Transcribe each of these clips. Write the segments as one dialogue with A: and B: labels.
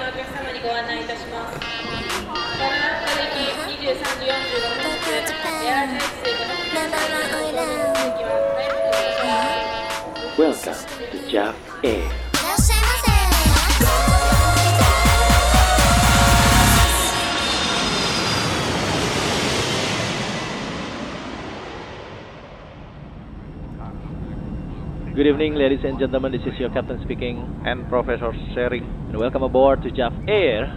A: ご案内いたします。ご覧のために23時45分発、エアージェットが発生いたします。席は早くお願いします。
B: Welcome to Jap Air.
C: いらっしゃいませ。
B: Good evening, ladies and gentlemen. This is your captain speaking and Professor Sharing. And welcome aboard to Jap Air.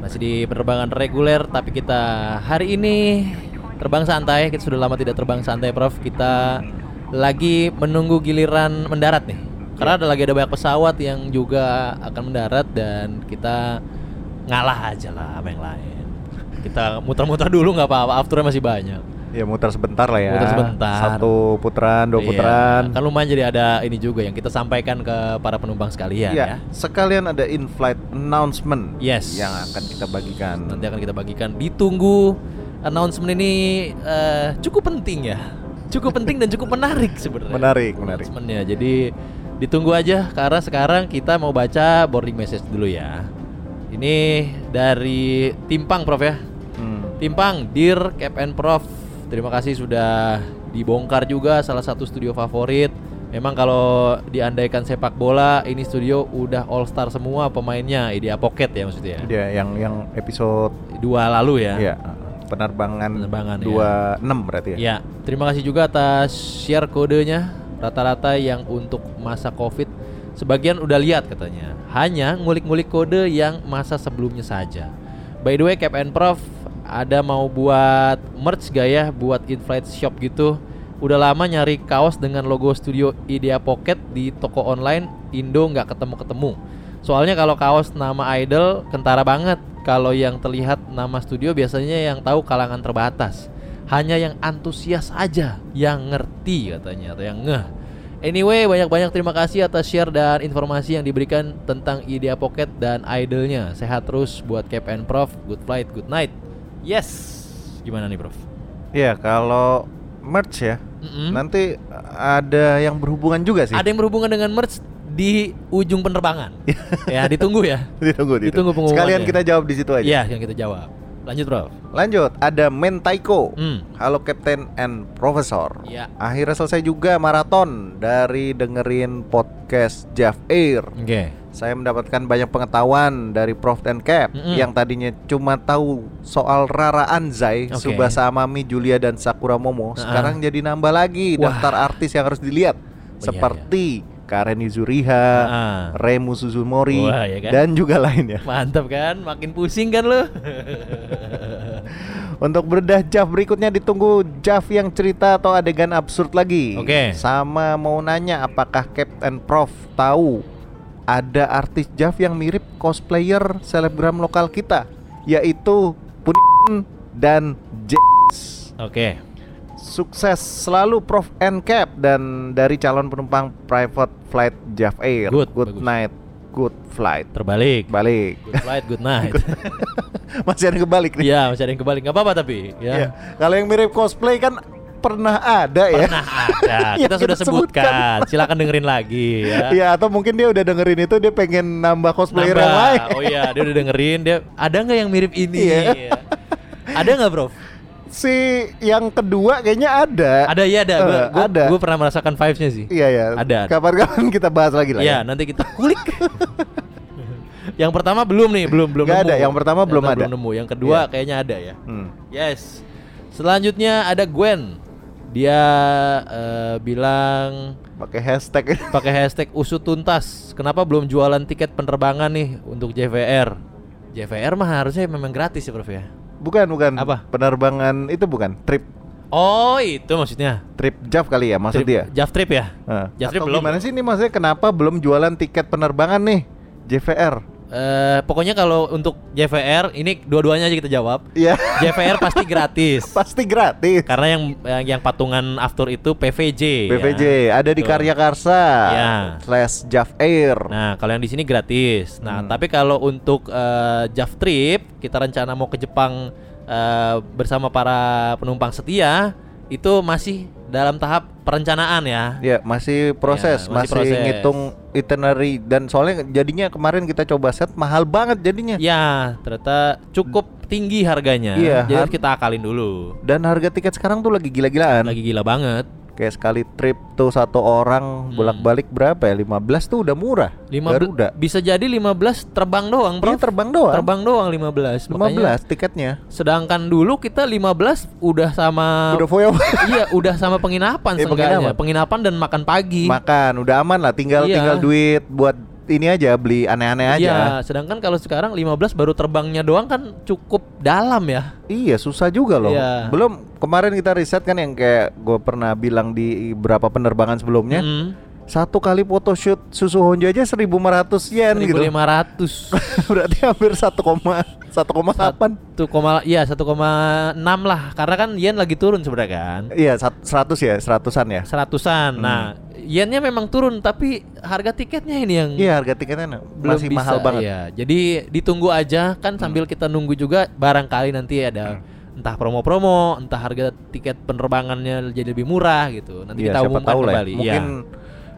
D: Masih di penerbangan reguler tapi kita hari ini terbang santai. Kita sudah lama tidak terbang santai, Prof. Kita lagi menunggu giliran mendarat nih. Karena ada lagi ada banyak pesawat yang juga akan mendarat dan kita ngalah aja lah sama yang lain. Kita muter-muter dulu nggak apa-apa. Afturnya masih banyak.
E: Ya muter sebentar lah ya.
D: Muter sebentar.
E: Satu putaran, dua
D: Iya,
E: putaran.
D: Kan lumayan jadi ada ini juga yang kita sampaikan ke para penumpang sekalian ya.
E: Iya, Sekalian ada in-flight announcement
D: Yes.
E: yang akan kita bagikan.
D: Nanti akan kita bagikan. Ditunggu announcement ini eh, cukup penting ya. Cukup penting dan cukup menarik sebenarnya.
E: Menarik, menarik.
D: Announcement-nya. Jadi ditunggu aja karena sekarang kita mau baca boarding message dulu ya. Ini dari Timpang Prof ya.
E: Hmm.
D: Timpang, Dear Cap and Prof, terima kasih sudah dibongkar juga salah satu studio favorit. Memang kalau diandaikan sepak bola, ini studio udah all star semua pemainnya. Idea Pocket ya maksudnya. ya?
E: Dia yang yang episode
D: Dua lalu ya.
E: ya penerbangan,
D: Penerbangan, ya.
E: 26 berarti ya.
D: Ya, terima kasih juga atas share kodenya. Rata-rata yang untuk masa Covid sebagian udah lihat katanya. Hanya ngulik-ngulik kode yang masa sebelumnya saja. By the way, Cap and Prof ada mau buat merch gak ya buat in-flight shop gitu. Udah lama nyari kaos dengan logo studio Idea Pocket di toko online Indo nggak ketemu-ketemu. Soalnya kalau kaos nama idol kentara banget. Kalau yang terlihat nama studio biasanya yang tahu kalangan terbatas hanya yang antusias aja yang ngerti katanya atau yang ngeh. Anyway, banyak-banyak terima kasih atas share dan informasi yang diberikan tentang Idea Pocket dan idolnya. Sehat terus buat Cap and Prof. Good flight, good night. Yes. Gimana nih, Prof?
E: Iya, kalau merch ya.
D: Mm-mm.
E: Nanti ada yang berhubungan juga sih.
D: Hmm? Nah, Ada yang berhubungan dengan merch di ujung penerbangan. ya, ditunggu ya.
E: ditunggu,
D: Ditunggu pengumumannya.
E: Sekalian kita jawab di situ aja.
D: Iya, yang kita jawab. Lanjut, Prof.
E: Lanjut, ada Mentaiko.
D: Hmm.
E: Halo Captain and Professor.
D: Iya.
E: Akhirnya selesai juga maraton dari dengerin podcast Jeff Air.
D: Oke.
E: Saya mendapatkan banyak pengetahuan dari Prof dan Cap
D: Mm-mm.
E: yang tadinya cuma tahu soal Rara Anzai,
D: Oke.
E: Subasa Amami, Julia dan Sakura Momo. Sekarang jadi nambah
D: Wah. Oh,
E: lagi
D: iya,
E: daftar artis yang harus dilihat seperti Karen Yuzuriha,
D: Ah.
E: Remu Suzumori
D: Wah, ya kan?
E: dan juga lainnya.
D: Mantap kan? Makin pusing kan lu?
E: Untuk berdah Jaf berikutnya ditunggu Jaf yang cerita atau adegan absurd lagi.
D: Oke.
E: Sama mau nanya apakah Captain Prof tahu ada artis Jaf yang mirip cosplayer selebgram lokal kita yaitu Punin dan Jess.
D: Oke.
E: Sukses selalu Prof and Cap dan dari calon penumpang private flight Jaf Air.
D: Good, bagus.
E: night, good flight.
D: Terbalik.
E: Balik.
D: Good flight, good night.
E: Masih ada yang kebalik nih.
D: Iya, masih ada yang kebalik. Gak apa-apa tapi. Ya.
E: Ya. Kalau yang mirip cosplay kan pernah ada ya.
D: Pernah ada.
E: Yang
D: Kita sudah
E: kita
D: sebutkan. Silakan dengerin lagi ya.
E: Iya atau mungkin dia udah dengerin itu dia pengen nambah cosplayer yang
D: Nambah.
E: lain.
D: Oh iya, dia udah dengerin. Dia ada nggak yang mirip ini?
E: Iya.
D: Iya. Ada nggak, Bro?
E: Si yang kedua kayaknya ada.
D: Ada ya ada. Gua,
E: Eh,
D: gua,
E: ada.
D: gua pernah merasakan vibes-nya sih.
E: Iya ya.
D: Ada, ada.
E: Kapan-kapan kita bahas lagi lah. ya.
D: Iya, nanti kita kulik. yang pertama belum nih, belum belum
E: Nggak
D: nemu.
E: ada, yang pertama belum ada. Iya.
D: Belum nemu. Yang kedua kayaknya ada ya.
E: Hmm.
D: Yes. Selanjutnya ada Gwen. Dia eh, bilang
E: Pakai hashtag.
D: pakai hashtag usut tuntas. Kenapa belum jualan tiket penerbangan nih untuk JVR? JVR mah harusnya memang gratis ya, Prof ya.
E: bukan bukan.
D: Apa?
E: Penerbangan itu bukan trip
D: Oh, itu maksudnya.
E: trip Jav kali ya maksud dia.
D: Jav Trip ya?
E: Heeh.
D: Jav Trip
E: Atau
D: belum.
E: gimana sih ini maksudnya kenapa belum jualan tiket penerbangan nih JVR?
D: Eh, pokoknya kalau untuk JVR ini dua-duanya aja kita jawab.
E: Iya.
D: JVR pasti gratis.
E: Pasti gratis.
D: Karena yang yang- yang patungan after itu PVJ. ya.
E: BPJ ada di
D: Betul.
E: Karya Karsa
D: Iya.
E: slash Jav Air.
D: Nah, kalau yang di sini gratis. Nah,
E: Hmm.
D: tapi kalau untuk eh, Jav Trip, kita rencana mau ke Jepang eh, bersama para penumpang setia, itu masih dalam tahap perencanaan ya.
E: Ya masih proses,
D: Ya, masih
E: masih,
D: proses.
E: ngitung itinerary dan soalnya jadinya kemarin kita coba set mahal banget jadinya.
D: Ya, ternyata cukup tinggi harganya.
E: Iya,
D: Jadi
E: har-
D: harus kita akalin dulu.
E: Dan harga tiket sekarang tuh lagi gila-gilaan.
D: Lagi gila banget.
E: Kayak sekali trip tuh satu orang bolak-balik berapa ya? 15 tuh udah murah.
D: Hmm. Lima bel-
E: Garuda.
D: Bisa jadi 15 terbang doang,
E: Iya
D: Bro.
E: terbang doang.
D: Terbang doang 15.
E: 15
D: Makanya
E: tiketnya.
D: sedangkan dulu kita 15 udah sama
E: udah foya
D: Iya, udah sama penginapan
E: Iya,
D: seenggaknya.
E: penginapan.
D: Penginapan dan makan pagi.
E: makan, udah aman lah tinggal
D: Iya.
E: tinggal duit buat ini aja beli aneh-aneh aja.
D: Iya, sedangkan kalau sekarang 15 baru terbangnya doang kan cukup dalam ya.
E: Iya susah juga loh.
D: Iya.
E: Belum kemarin kita riset kan yang kayak gue pernah bilang di berapa penerbangan sebelumnya
D: Mm.
E: satu kali photoshoot susu Honjo aja 1.500 yen gitu.
D: 1500.
E: Berarti hampir 1, 1,8
D: 1, iya 1,6 lah karena kan yen lagi turun sebenarnya kan.
E: Iya, sat- 100 ya, 100-an ya.
D: Seratusan. Nah, yennya memang turun tapi harga tiketnya ini yang
E: Iya, harga tiketnya
D: Hmm. belum
E: masih
D: bisa,
E: mahal banget. Hmm.
D: iya. Jadi ditunggu aja kan sambil kita nunggu juga barangkali nanti ada entah promo-promo, entah harga tiket penerbangannya jadi lebih murah gitu. Nanti
E: Iya,
D: kita
E: siapa
D: umumkan
E: tahu lah. ya.
D: kembali.
E: Mungkin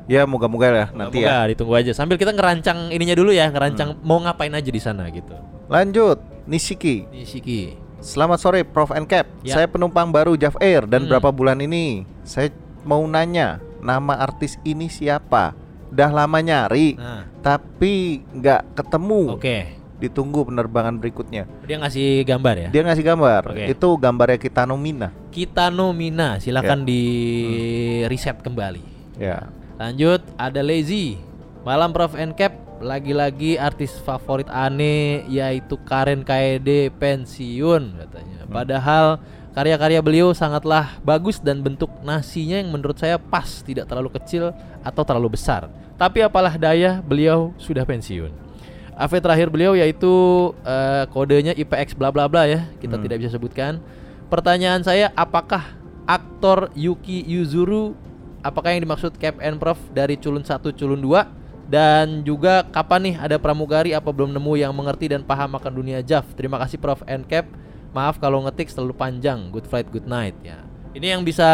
D: Iya.
E: ya moga-moga ya nanti ya. Hmm.
D: Moga ditunggu aja sambil kita ngerancang ininya dulu ya, ngerancang mau ngapain aja di sana gitu.
E: Lanjut, Nishiki.
D: Di Shiki.
E: Selamat sore Prof and Cap.
D: Ya.
E: Saya penumpang baru Jav Air
D: Hmm.
E: dan berapa bulan ini? Saya mau nanya, nama artis ini siapa? Dah lama nyari,
D: Nah,
E: tapi nggak ketemu.
D: oke.
E: Ditunggu penerbangan berikutnya.
D: Dia ngasih gambar ya.
E: Dia ngasih gambar.
D: Oke.
E: Itu gambarnya kita nomina.
D: Kita nomina, silakan di
E: Hmm.
D: reset kembali.
E: Ya.
D: Lanjut, ada Lazy. Malam Prof and Cap, lagi-lagi artis favorit aneh yaitu Karen KED pensiun katanya. Padahal karya-karya beliau sangatlah bagus dan bentuk nasinya yang menurut saya pas, tidak terlalu kecil atau terlalu besar. Tapi apalah daya, beliau sudah pensiun. AV terakhir beliau yaitu eh, kodenya IPX bla bla bla ya. Kita tidak bisa sebutkan. Pertanyaan saya apakah aktor Yuki Yuzuru apakah yang dimaksud Cap and Prof dari culun 1 culun 2 dan juga kapan nih ada pramugari apa belum nemu yang mengerti dan paham akan dunia Jav. Terima kasih Prof and Cap. Maaf kalau ngetik selalu panjang. Good flight, good night ya. Ini yang bisa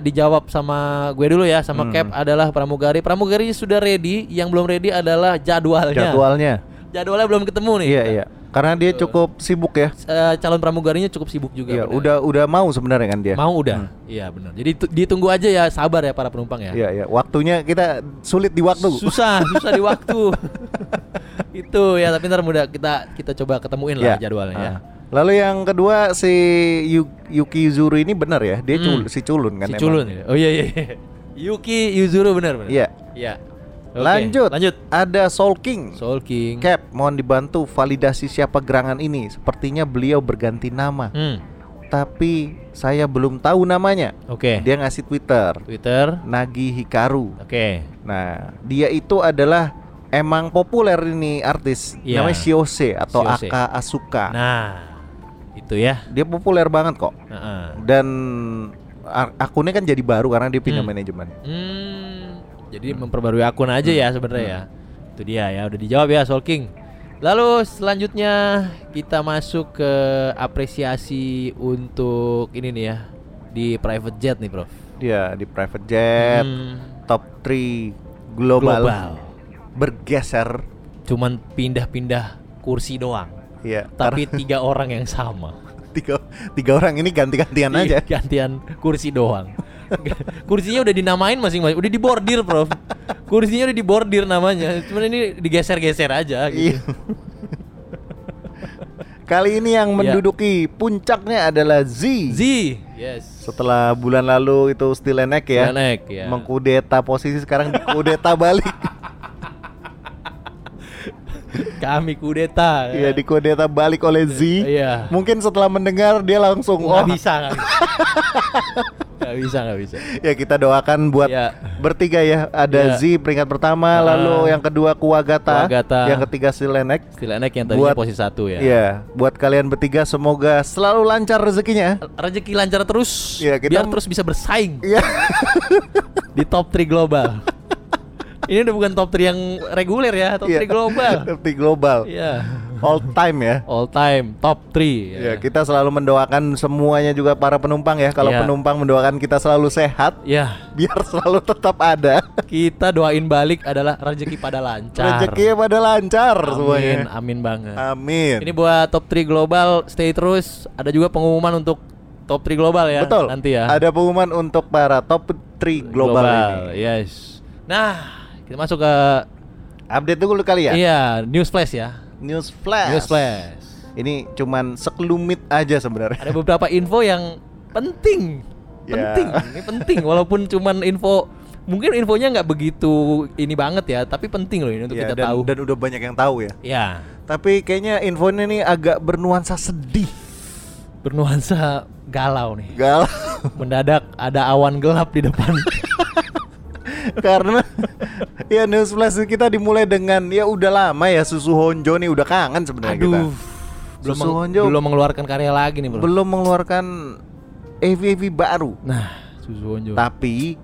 D: dijawab sama gue dulu ya sama Cap adalah pramugari. Pramugari sudah ready, yang belum ready adalah jadwalnya
E: Ya, Jadwalnya.
D: jadwalnya belum ketemu nih.
E: Iya, iya. Karena dia cukup sibuk ya.
D: Eh, calon pramugarinya cukup sibuk juga.
E: Iya,
D: benar.
E: udah udah mau sebenarnya kan dia.
D: Mau udah. Iya benar. Jadi tu- ditunggu aja ya, sabar ya para penumpang ya.
E: Iya, iya. Waktunya kita sulit di waktu.
D: Susah, susah di waktu. Itu ya, tapi ntar mudah kita kita coba ketemuin lah jadwalnya. ya.
E: Ah. Lalu yang kedua si Yu- Yuki Yuzuru ini benar ya? Dia cul- si culun kan
D: Hmm. Si
E: emang.
D: culun. ya. Oh iya iya. iya. Yuki Yuzuru benar benar.
E: Iya.
D: Iya. Oke,
E: Lanjut.
D: Lanjut.
E: Ada Soul King.
D: Soul King.
E: Cap, mohon dibantu validasi siapa gerangan ini. Sepertinya beliau berganti nama,
D: Hmm.
E: tapi saya belum tahu namanya.
D: Oke.
E: Dia ngasih Twitter,
D: Twitter.
E: Nagi Hikaru.
D: Oke.
E: Nah, dia itu adalah emang populer ini artis
D: Iya.
E: namanya Shiose atau
D: Shiose.
E: Aka Asuka.
D: Nah, itu ya.
E: Dia populer banget kok.
D: Heeh.
E: dan ar- akunnya kan jadi baru karena dia pindah
D: Hmm.
E: manajemen.
D: Hmm, jadi memperbarui akun aja ya sebenarnya ya. Itu dia ya, udah dijawab ya Soul King. Lalu selanjutnya kita masuk ke apresiasi untuk ini nih ya di private jet nih, Prof.
E: Dia di private jet,
D: Hmm,
E: top 3 global,
D: Global.
E: bergeser.
D: cuman pindah-pindah kursi doang.
E: Iya,
D: Tapi tiga orang yang sama.
E: karena tiga, tiga orang ini ganti-gantian aja.
D: Iya, Gantian kursi doang. Kursinya udah dinamain masing-masing, udah dibordir, Prof. Kursinya udah dibordir namanya. Cuman ini digeser-geser aja gitu.
E: Iya. Kali ini yang menduduki puncaknya adalah Z.
D: Iya. Z. Yes.
E: Setelah bulan lalu itu Stilenek ya,
D: Stilenek, ya.
E: mengkudeta posisi sekarang dikudeta balik.
D: Kami kudeta.
E: Iya, dikudeta balik oleh Z.
D: Iya.
E: Mungkin setelah mendengar dia langsung
D: Nggak
E: oh,
D: bisa, nggak bisa. Nggak bisa, nggak bisa.
E: ya kita doakan buat
D: Ya.
E: bertiga ya ada
D: Ya.
E: Z peringkat pertama
D: Ah.
E: lalu yang kedua Kuagata,
D: Kuwagata.
E: yang ketiga Silenek
D: Stilenek yang tadinya
E: Buat-
D: posisi satu ya.
E: ya. buat kalian bertiga semoga selalu lancar rezekinya
D: Rezeki lancar terus.
E: Iya, kita-
D: biar terus bisa bersaing
E: Iya.
D: di top 3 global. Ini udah bukan top 3 yang reguler ya, top 3
E: Iya.
D: global.
E: Top three global.
D: Iya.
E: All time ya.
D: All time top 3.
E: Ya, kita selalu mendoakan semuanya juga para penumpang ya. Kalau
D: Iya.
E: penumpang mendoakan kita selalu sehat,
D: Ya,
E: biar selalu tetap ada.
D: kita doain balik adalah rezeki pada lancar.
E: Rezekinya pada lancar
D: Amin,
E: semuanya.
D: amin banget.
E: Amin.
D: Ini buat top 3 global, stay terus. Ada juga pengumuman untuk top 3 global ya
E: Betul.
D: nanti ya.
E: Ada pengumuman untuk para top 3 global, ini.
D: Yes. Nah, kita masuk ke
E: Update dulu kali ya.
D: iya, news flash ya.
E: News flash.
D: News flash.
E: Ini cuman sekelumit aja sebenarnya.
D: Ada beberapa info yang penting.
E: Ya.
D: Penting, ini penting walaupun cuman info mungkin infonya nggak begitu ini banget ya, tapi penting loh ini untuk
E: Ya,
D: kita
E: dan,
D: tahu.
E: dan udah banyak yang tahu ya.
D: Ya,
E: Tapi kayaknya infonya nih agak bernuansa sedih.
D: bernuansa galau nih.
E: Gal
D: Mendadak ada awan gelap di depan.
E: karena ya news flash kita dimulai dengan ya udah lama ya susu Honjo nih udah kangen sebenarnya kita.
D: Aduh. Belum, Nah,
E: Susu
D: meng-
E: Honjo.
D: belum mengeluarkan karya lagi nih, Bro.
E: Belum mengeluarkan EV-EV baru,
D: Nah, Susu Honjo.
E: tapi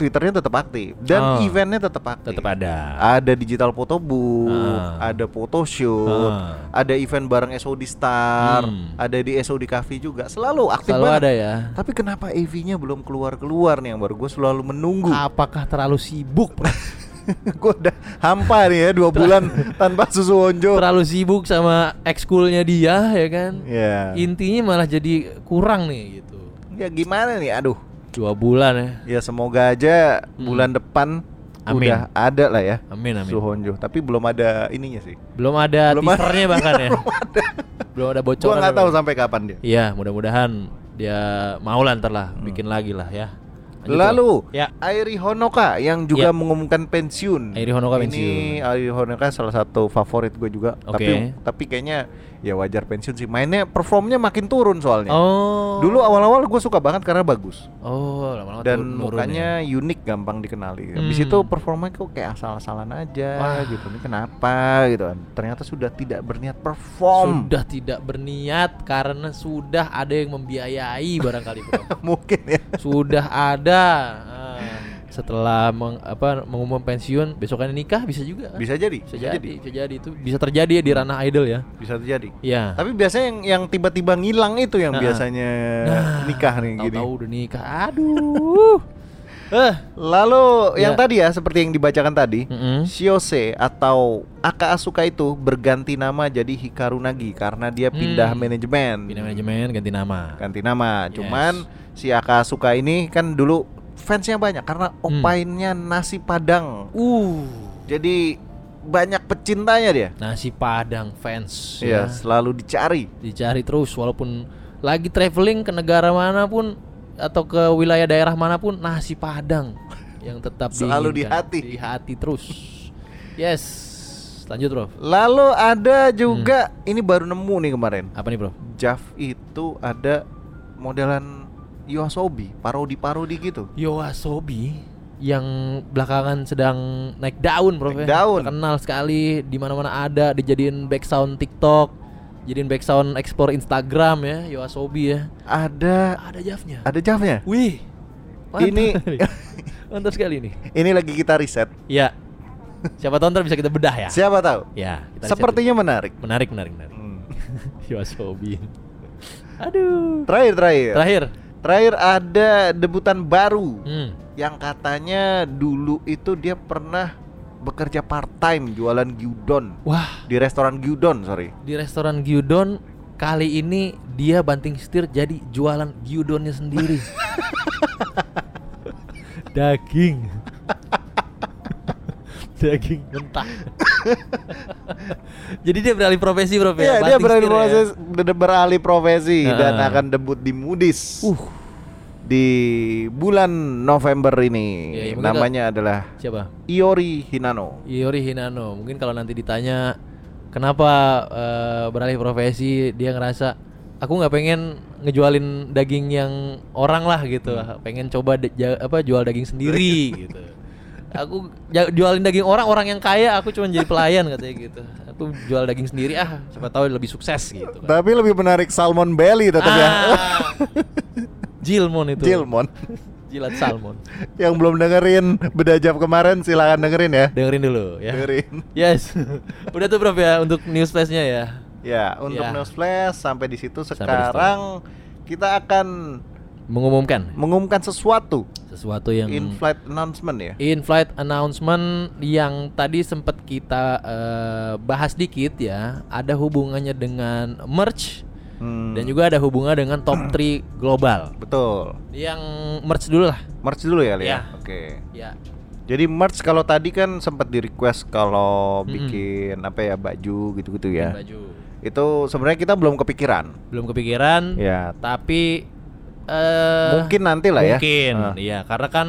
E: Twitternya tetap aktif dan
D: Oh.
E: eventnya tetap aktif.
D: Tetap ada.
E: ada digital photo booth,
D: Ah.
E: ada photo shoot,
D: Ah.
E: ada event bareng SOD Star,
D: Hmm.
E: ada di SOD Cafe juga. Selalu aktif
D: Selalu
E: banget.
D: ada ya.
E: Tapi kenapa EV-nya belum keluar-keluar nih yang baru? Gue selalu menunggu.
D: Apakah terlalu sibuk? Bro?
E: Gue udah hampa nih ya dua bulan tanpa susu Wonjo.
D: terlalu sibuk sama ekskulnya dia ya kan?
E: Ya.
D: Intinya malah jadi kurang nih gitu.
E: Ya gimana nih? Aduh.
D: Dua bulan ya.
E: Ya semoga aja bulan depan
D: Hmm. Amin.
E: udah ada lah ya.
D: Amin amin.
E: Susu Wonjo. Tapi belum ada ininya sih.
D: Belum ada
E: Belum ada.
D: teasernya bahkan ya. Belum ada.
E: Gue
D: bocoran.
E: nggak tahu sampai kapan dia.
D: Iya, mudah-mudahan dia mau lah ntar lah bikin lagi lah ya. Lanjut,
E: Hmm. Lalu
D: Bro. ya.
E: Airi Honoka yang juga
D: Ya.
E: mengumumkan pensiun.
D: Airi Honoka
E: Ini
D: pensiun.
E: Airi Honoka salah satu favorit gue juga.
D: Oke.
E: Tapi tapi kayaknya ya wajar pensiun sih. Mainnya performnya makin turun soalnya.
D: Oh.
E: Dulu awal-awal gue suka banget karena bagus
D: Oh, lama-lama
E: dan
D: turun- turun ya.
E: mukanya unik gampang dikenali.
D: Hmm.
E: Habis itu performanya kok kayak asal-asalan aja
D: Wah.
E: gitu. Ini kenapa gitu kan. Ternyata sudah tidak berniat perform.
D: sudah tidak berniat karena sudah ada yang membiayai barangkali Bro.
E: Mungkin ya.
D: sudah ada ah, setelah meng, apa mengumum pensiun besokannya nikah bisa juga kan?
E: Bisa jadi.
D: bisa jadi, bisa jadi itu bisa terjadi ya di ranah idol ya
E: Bisa terjadi.
D: ya
E: Tapi biasanya yang yang tiba-tiba ngilang itu yang
D: Nah.
E: biasanya nikah nih gini.
D: tahu-tahu udah nikah aduh eh
E: Lalu yang
D: Ya.
E: tadi ya seperti yang dibacakan tadi,
D: Mm-mm.
E: Shiose atau Aka Asuka itu berganti nama jadi Hikaru Nagi karena dia pindah
D: Hmm.
E: manajemen.
D: pindah manajemen ganti nama
E: Ganti nama.
D: Yes.
E: Cuman si Aka Asuka ini kan dulu fansnya banyak karena
D: Hmm.
E: opainnya nasi Padang.
D: uh
E: Jadi banyak pecintanya dia.
D: nasi padang fans ya.
E: Iya, selalu dicari.
D: dicari terus walaupun lagi traveling ke negara manapun atau ke wilayah daerah manapun nasi padang yang tetap
E: Selalu di
D: diinginkan.
E: hati.
D: di hati terus yes lanjut bro
E: Lalu ada juga
D: Hmm.
E: ini baru nemu nih kemarin.
D: apa nih bro
E: Jav itu ada modelan Yoasobi, parodi-parodi gitu.
D: Yoasobi yang belakangan sedang naik daun bro
E: Naik daun.
D: kenal sekali di mana mana ada dijadiin background TikTok jadiin background explore Instagram ya Yoasobi ya
E: Ada
D: ada Javnya
E: ada Javnya.
D: wih mantap
E: Ini-
D: nih. mantap sekali nih
E: Ini lagi kita riset.
D: Ya. Siapa tahu ntar bisa kita bedah ya.
E: Siapa tahu?
D: Ya. kita riset
E: Sepertinya menarik.
D: dulu. menarik, menarik, menarik.
E: Hmm.
D: Yoasobi. Aduh.
E: Terakhir, terakhir.
D: Terakhir.
E: Terakhir ada debutan baru
D: Hmm.
E: yang katanya dulu itu dia pernah bekerja part time jualan gyudon
D: Wah,
E: di restoran gyudon, sorry.
D: di restoran Gyudon kali ini dia banting setir jadi jualan Gyudonnya sendiri. Daging. Daging mentah. jadi dia beralih profesi, Bro.
E: Iya,
D: ya?
E: dia
D: Banting
E: beralih
D: setir ya.
E: profesi, de- beralih profesi
D: Heeh.
E: dan akan debut di Moody's.
D: Uh.
E: Di bulan November ini.
D: Iya, iya, mungkin
E: Namanya adalah
D: Siapa?
E: Iori Hinano.
D: Iori Hinano mungkin kalau nanti ditanya kenapa eh, beralih profesi dia ngerasa aku nggak pengen ngejualin daging yang orang lah gitu pengen coba da- ja- apa jual daging sendiri gitu aku ja- jualin daging orang orang yang kaya aku cuma jadi pelayan katanya gitu aku jual daging sendiri ah siapa tahu lebih sukses gitu kan.
E: Tapi lebih menarik salmon belly tetap ya.
D: Ah, Jilmon itu
E: Jilmon.
D: Jilat salmon.
E: Yang belum dengerin bedajap kemarin silakan dengerin ya.
D: Dengerin dulu ya.
E: Dengerin.
D: Yes. Udah tuh Prof ya untuk news flash-nya ya.
E: Ya, untuk
D: Ya.
E: News Flash sampai di situ
D: Sampai di situ.
E: sekarang kita akan
D: Mengumumkan
E: mengumumkan sesuatu
D: sesuatu yang Iya.
E: in flight announcement ya.
D: In-flight announcement yang tadi sempat kita eh, bahas dikit ya, ada hubungannya dengan merch
E: Hmm,
D: dan juga ada hubungan dengan top 3 global.
E: betul.
D: Yang merch dulu lah.
E: Merch dulu ya, Lia.
D: Ya.
E: Oke.
D: Ya.
E: Jadi merch kalau tadi kan sempat di request kalau
D: Mm-mm.
E: bikin apa ya baju gitu-gitu ya.
D: Baju.
E: Itu sebenarnya kita belum kepikiran.
D: Belum kepikiran.
E: Ya.
D: Tapi eh
E: mungkin nanti lah ya.
D: Mungkin.
E: Ah.
D: Iya, karena kan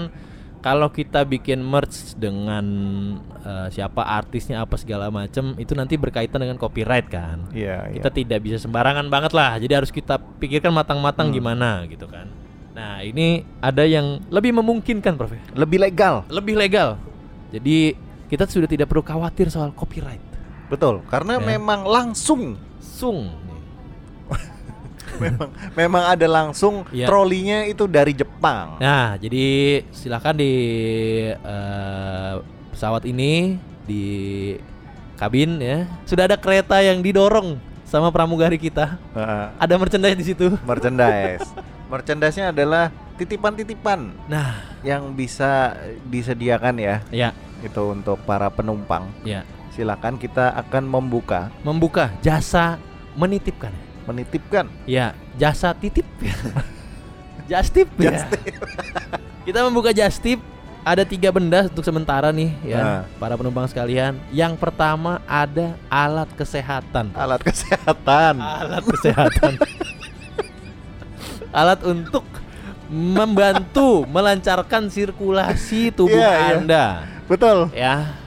D: kalau kita bikin merch dengan eh, siapa artisnya apa segala macem itu nanti berkaitan dengan copyright kan.
E: Iya, iya.
D: kita tidak bisa sembarangan banget lah jadi harus kita pikirkan matang-matang gimana gitu kan nah ini ada yang lebih memungkinkan prof ya.
E: Lebih legal.
D: lebih legal jadi kita sudah tidak perlu khawatir soal copyright
E: Betul, karena
D: Ya.
E: memang langsung
D: sung
E: memang memang ada langsung
D: Iya.
E: trolinya itu dari Jepang.
D: nah jadi silahkan di eh, pesawat ini di kabin ya sudah ada kereta yang didorong sama pramugari kita
E: Heeh.
D: ada merchandise di situ
E: Ah, merchandise. Merchandise-nya adalah titipan-titipan
D: nah
E: yang bisa disediakan ya
D: ya
E: itu untuk para penumpang.
D: ya
E: Silakan kita akan membuka,
D: membuka jasa menitipkan
E: menitipkan.
D: Ya, jasa titip. Jastip ya. Kita membuka Jastip. Ada tiga benda untuk sementara nih ya,
E: Nah.
D: para penumpang sekalian. Yang pertama ada alat kesehatan.
E: alat kesehatan.
D: Alat kesehatan. alat untuk membantu melancarkan sirkulasi tubuh
E: Iya, iya.
D: Anda.
E: Betul.
D: Ya.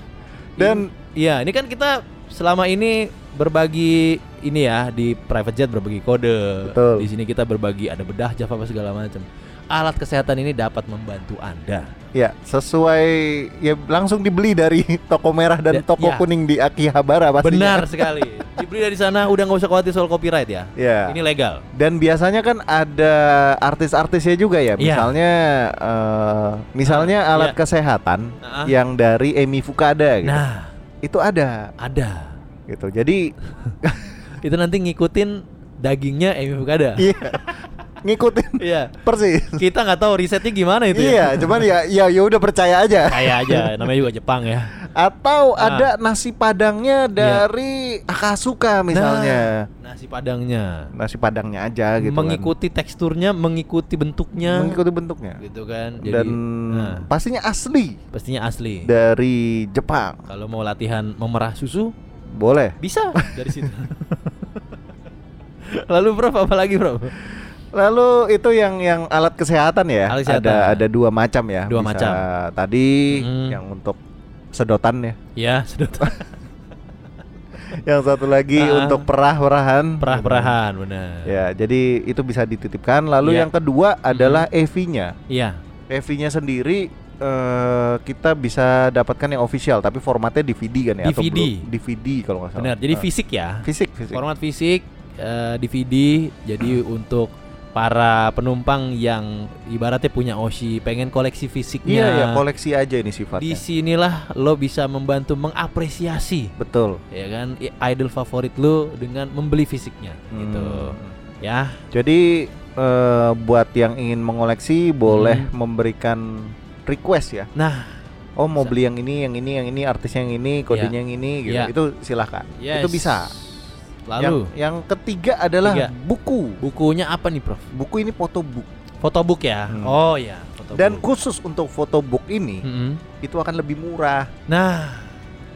E: Dan-
D: iya, ini kan kita selama ini berbagi ini ya di private jet berbagi kode.
E: Betul.
D: Di sini kita berbagi ada bedah Java apa segala macam. Alat kesehatan ini dapat membantu Anda.
E: Ya, sesuai ya langsung dibeli dari toko merah dan
D: Ya, ya.
E: toko kuning di Akihabara pastinya.
D: Benar sekali. Dibeli dari sana udah nggak usah khawatir soal copyright ya.
E: Ya.
D: Ini legal.
E: Dan biasanya kan ada artis-artisnya juga ya, misalnya eh, misalnya alat
D: Iya.
E: kesehatan
D: Ah.
E: yang dari Emi Fukada gitu.
D: Nah,
E: Itu ada
D: ada.
E: gitu. Jadi
D: Itu nanti ngikutin dagingnya Amy Fukada.
E: iya ngikutin
D: Iya.
E: persis.
D: Kita nggak tahu risetnya gimana itu ya.
E: Iya, cuman ya ya ya udah percaya aja.
D: Kayak aja, namanya juga Jepang ya. Ah.
E: Atau
D: Iya.
E: ada nasi padangnya dari Akasuka misalnya.
D: Nah, nasi padangnya.
E: Nasi padangnya aja gitu. kan.
D: mengikuti teksturnya, mengikuti bentuknya,
E: mengikuti bentuknya.
D: gitu kan. Jadi,
E: Dan
D: nah,
E: pastinya asli
D: pastinya asli.
E: dari Jepang.
D: Kalau mau latihan memerah susu,
E: Boleh.
D: bisa dari situ. Lalu Prof, apa lagi Prof?
E: Lalu itu yang yang alat kesehatan ya.
D: Alat kesehatan.
E: Ada ada dua macam ya.
D: Dua macam.
E: Tadi
D: Mm.
E: yang untuk sedotan ya.
D: Ya, sedotan
E: Yang satu lagi
D: Ah.
E: untuk perah-perahan.
D: perah-perahan, benar. Iya.
E: Ya, jadi itu bisa dititipkan. Lalu
D: Iya.
E: yang kedua adalah EV-nya.
D: Iya.
E: EV-nya sendiri eh, kita bisa dapatkan yang official, tapi formatnya DVD kan ya? atau
D: DVD.
E: belum? DVD kalau nggak salah.
D: Benar. Jadi
E: Ah.
D: fisik ya.
E: fisik, fisik.
D: Format fisik eh, DVD jadi
E: Hmm.
D: untuk para penumpang yang ibaratnya punya Oshi pengen koleksi fisiknya.
E: Iya, ya koleksi aja ini sifatnya.
D: Di sinilah lo bisa membantu mengapresiasi
E: Betul.
D: ya kan i- idol favorit lu dengan membeli fisiknya gitu
E: Hmm.
D: ya
E: Jadi eh, buat yang ingin mengoleksi boleh
D: Hmm.
E: memberikan request ya.
D: nah
E: Oh mau beli yang ini, yang ini, yang ini artisnya yang ini, kodenya yang ini gitu.
D: Ya.
E: Itu silahkan.
D: Iya. yes.
E: Itu bisa. Ya.
D: lalu
E: Yang, yang ketiga adalah
D: Tiga.
E: buku.
D: bukunya apa nih prof
E: Buku ini photobook
D: photobook ya
E: Hmm.
D: oh ya photobook.
E: dan khusus untuk photobook ini
D: Mm-mm.
E: itu akan lebih murah.
D: Hmm. nah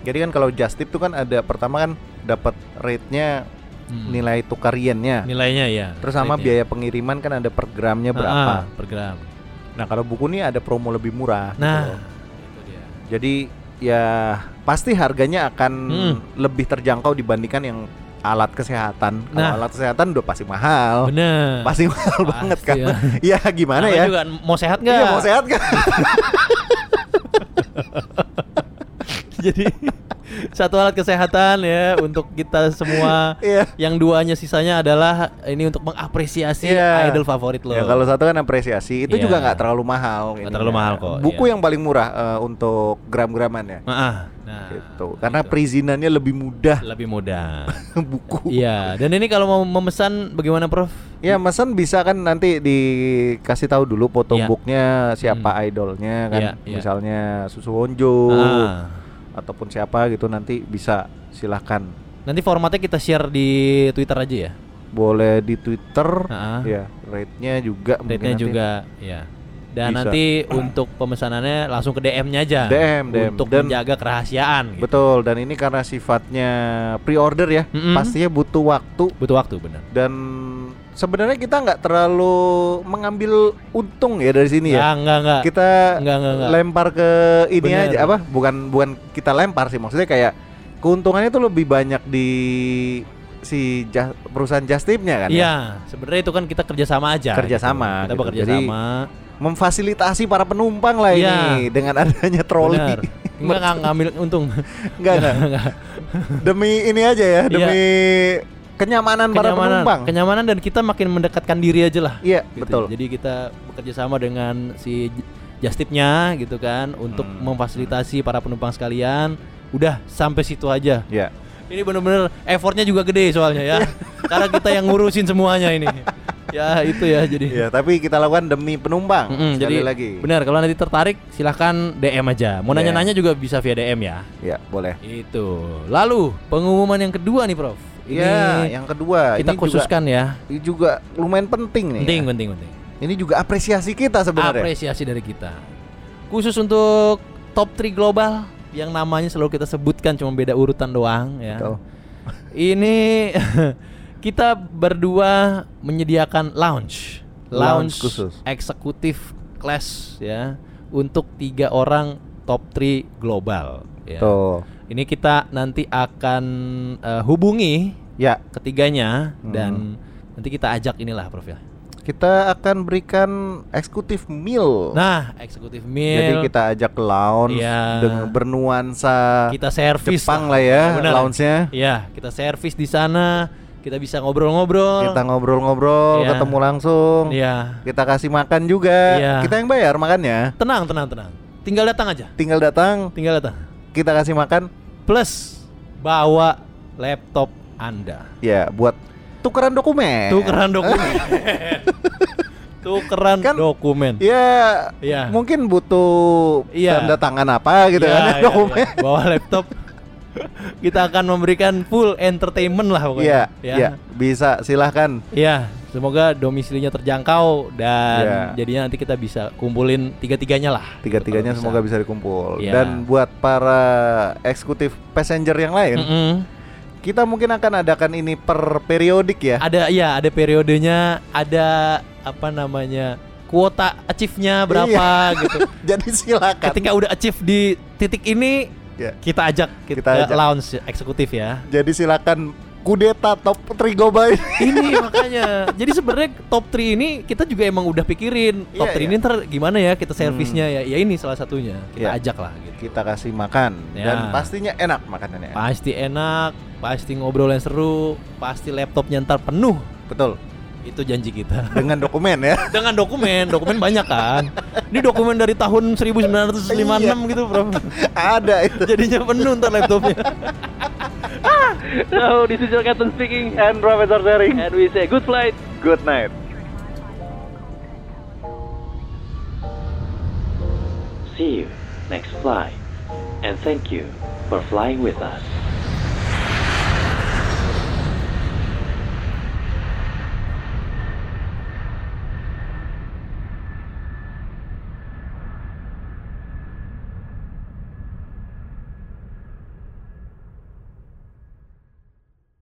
E: Jadi kan kalau just tip itu kan ada pertama kan dapat rate-nya
D: hmm,
E: nilai tukar yen-nya.
D: nilainya ya
E: Terus sama
D: rate-nya.
E: biaya pengiriman kan ada per
D: Ah,
E: gramnya
D: ah,
E: berapa.
D: per gram
E: Nah, kalau buku ini ada promo lebih murah gitu
D: nah
E: loh.
D: itu dia
E: Jadi ya pasti harganya akan
D: Hmm.
E: lebih terjangkau dibandingkan yang alat kesehatan. Kalau
D: Nah.
E: alat kesehatan udah pasti mahal.
D: bener
E: Pasti mahal
D: Pasti
E: banget kan.
D: ya.
E: Ya, gimana
D: Namanya
E: Oh. ya?
D: juga mau sehat nggak
E: Iya mau sehat kan?
D: jadi satu alat kesehatan ya untuk kita semua.
E: Iya.
D: Yang duanya sisanya adalah ini untuk mengapresiasi
E: Iya.
D: idol favorit lo.
E: Ya kalau satu kan apresiasi itu
D: Iya.
E: juga nggak terlalu mahal. ininya.
D: terlalu mahal kok,
E: Buku
D: iya.
E: yang paling murah eh, untuk gram-graman ya.
D: Ah, nah,
E: Gitu. Karena perizinannya lebih mudah
D: lebih mudah.
E: buku.
D: Iya, dan ini kalau mau memesan bagaimana Prof?
E: Ya pesan bisa kan nanti dikasih tahu dulu foto
D: Iya.
E: booknya siapa idolnya kan.
D: Iya, iya.
E: Misalnya Susu Wonjo
D: Ah.
E: ataupun siapa gitu nanti bisa silahkan
D: Nanti formatnya kita share di Twitter aja ya.
E: boleh di Twitter.
D: Ah.
E: Ya rate-nya juga. mungkin
D: Rate-nya
E: nanti.
D: juga ya. Dan
E: Bisa.
D: nanti untuk pemesanannya langsung ke DM-nya aja.
E: DM, DM.
D: untuk
E: Dan-
D: menjaga kerahasiaan. gitu.
E: Betul. Dan ini karena sifatnya pre-order ya,
D: Mm-mm.
E: pastinya butuh waktu
D: Butuh waktu benar.
E: dan sebenarnya kita nggak terlalu mengambil untung ya dari sini ya.
D: Ya, enggak enggak.
E: Kita
D: Nggak, nggak, nggak.
E: lempar ke ini
D: Bener.
E: aja apa? Bukan bukan kita lempar sih maksudnya kayak keuntungannya tuh lebih banyak di si jas- perusahaan justipnya kan. ya.
D: Iya, sebenarnya itu kan kita kerjasama aja.
E: Kerjasama,
D: Kita
E: gitu.
D: bekerja
E: Jadi,
D: sama.
E: Memfasilitasi para penumpang lah
D: Iya.
E: ini dengan adanya troli.
D: Benar. Enggak enggak ngambil untung.
E: Enggak enggak. Demi ini aja ya, demi kenyamanan, para
D: Iya. kenyamanan,
E: penumpang.
D: kenyamanan dan kita makin mendekatkan diri aja lah.
E: Iya,
D: Gitu.
E: betul.
D: Jadi kita bekerja sama dengan si J- Justipnya gitu kan untuk
E: Hmm.
D: memfasilitasi para penumpang sekalian. Udah sampai situ aja.
E: Iya.
D: Ini bener-bener effortnya juga gede soalnya ya. Karena kita yang ngurusin semuanya ini. ya itu ya jadi.
E: Iya, tapi kita lakukan demi penumpang.
D: Mm-mm, jadi
E: Sekali lagi.
D: benar kalau nanti tertarik silahkan DM aja. Mau
E: Iya.
D: nanya-nanya juga bisa via DM ya.
E: Ya, boleh.
D: Itu. Lalu pengumuman yang kedua nih Prof. Ini
E: Iya, yang kedua
D: kita
E: ini
D: khususkan ya.
E: juga, Iya. ini juga lumayan penting nih.
D: Penting,
E: ya.
D: penting, penting.
E: Ini juga apresiasi kita sebenarnya.
D: Apresiasi dari kita. Khusus untuk top 3 global yang namanya selalu kita sebutkan cuma beda urutan doang ya.
E: Betul.
D: Ini kita berdua menyediakan lounge,
E: Lounge khusus.
D: eksekutif class ya untuk tiga orang top 3 global ya.
E: Tuh.
D: Ini kita nanti akan eh, hubungi
E: Ya,
D: ketiganya
E: Hmm.
D: dan nanti kita ajak inilah Prof ya.
E: kita akan berikan eksekutif meal.
D: Nah, eksekutif
E: Jadi
D: meal
E: kita ajak ke lounge
D: Iya.
E: dengan bernuansa
D: kita servis
E: Jepang lah ya,
D: Benar.
E: lounge-nya.
D: Iya, kita servis di sana, kita bisa ngobrol-ngobrol.
E: Kita ngobrol-ngobrol,
D: Iya.
E: ketemu langsung.
D: Iya.
E: Kita kasih makan juga.
D: Iya.
E: Kita yang bayar makannya.
D: Tenang, tenang, tenang. Tinggal datang aja.
E: Tinggal datang,
D: Tinggal datang.
E: kita kasih makan.
D: Plus bawa laptop Anda.
E: Ya, buat tukeran dokumen.
D: Tukeran dokumen. Tukeran
E: Kan-
D: dokumen.
E: Ya,
D: Iya.
E: mungkin butuh
D: Iya.
E: tanda tangan apa gitu
D: Iya,
E: kan ya,
D: iya,
E: dokumen.
D: iya. Bawa laptop. kita akan memberikan full entertainment lah
E: Iya,
D: pokoknya. Ya.
E: iya, bisa silahkan.
D: Iya, semoga domisilinya terjangkau dan
E: Iya.
D: jadinya nanti kita bisa kumpulin tiga-tiganya lah.
E: Tiga-tiganya
D: Kalau
E: semoga bisa dikumpul.
D: Iya.
E: Dan buat para eksekutif passenger yang lain,
D: Mm-mm.
E: kita mungkin akan adakan ini per periodik ya.
D: Ada ya, ada periodenya, ada apa namanya? kuota achieve-nya berapa
E: Iya.
D: gitu.
E: Kan. Jadi silakan.
D: Ketika udah achieve di titik ini
E: Ya.
D: kita ajak kita,
E: Kita ajak.
D: lounge eksekutif ya.
E: Jadi silakan kudeta top trigoba ini.
D: ini makanya. Jadi sebenarnya top 3 ini kita juga emang udah pikirin top 3
E: Iya, iya. Hmm.
D: ini ntar gimana ya kita servisnya ya. Ya ini salah satunya. Kita
E: Iya.
D: ajak lah gitu.
E: Kita kasih makan
D: Ya.
E: dan pastinya enak makanannya.
D: Pasti enak, pasti ngobrol yang seru, pasti laptopnya ntar penuh.
E: Betul.
D: Itu janji kita.
E: Dengan dokumen ya.
D: Dengan dokumen, dokumen banyak kan. Ini dokumen dari tahun 1956 gitu, Bro.
E: Ada itu.
D: Jadinya penuh ntar laptopnya.
B: Hello, this is your captain speaking and Professor Sharing and we say good flight, good night.
F: See you next flight, and thank you for flying with us.